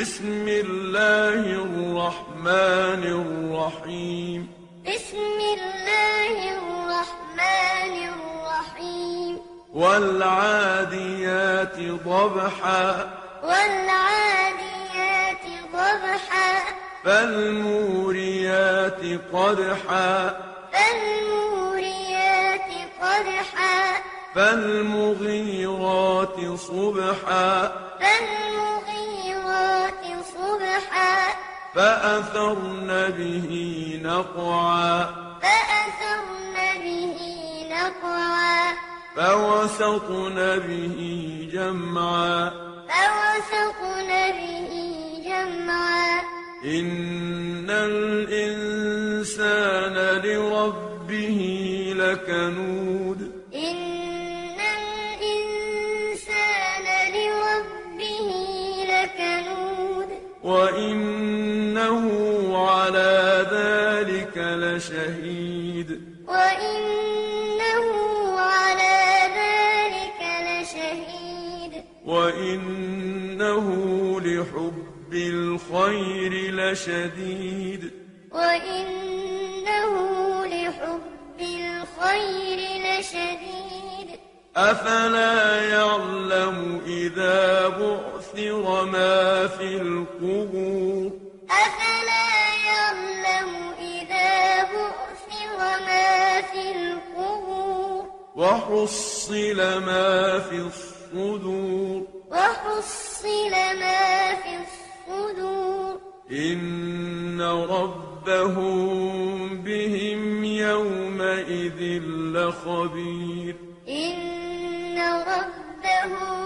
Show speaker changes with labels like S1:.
S1: بسم الله الرحمن الرحيم
S2: بسم الله الرحمن الرحيم
S1: والعاديات ضبحا
S2: والعاديات ضبحا
S1: فالموريات قدحا
S2: فالموريات قدحا
S1: فالمغيرات صبحا
S2: فالمغيرات صبحا
S1: فأثرن به نقعا
S2: فأثرن به نقعا
S1: فوسطن به جمعا
S2: فوسطن به جمعا
S1: إن الإنسان لربه لكنود
S2: إن الإنسان لربه لكنود
S1: وإنه على ذلك لشهيد
S2: وإنه على ذلك لشهيد
S1: وإنه لحب الخير لشديد
S2: وإنه لحب الخير لشديد
S1: أفلا يعلم إذا بعثر ما في القبور
S2: أفلا يعلم إذا بعثر ما في القبور
S1: وحصل ما في الصدور
S2: وحصل ما في الصدور
S1: إن ربهم بهم يومئذ لخبير
S2: إن ربهم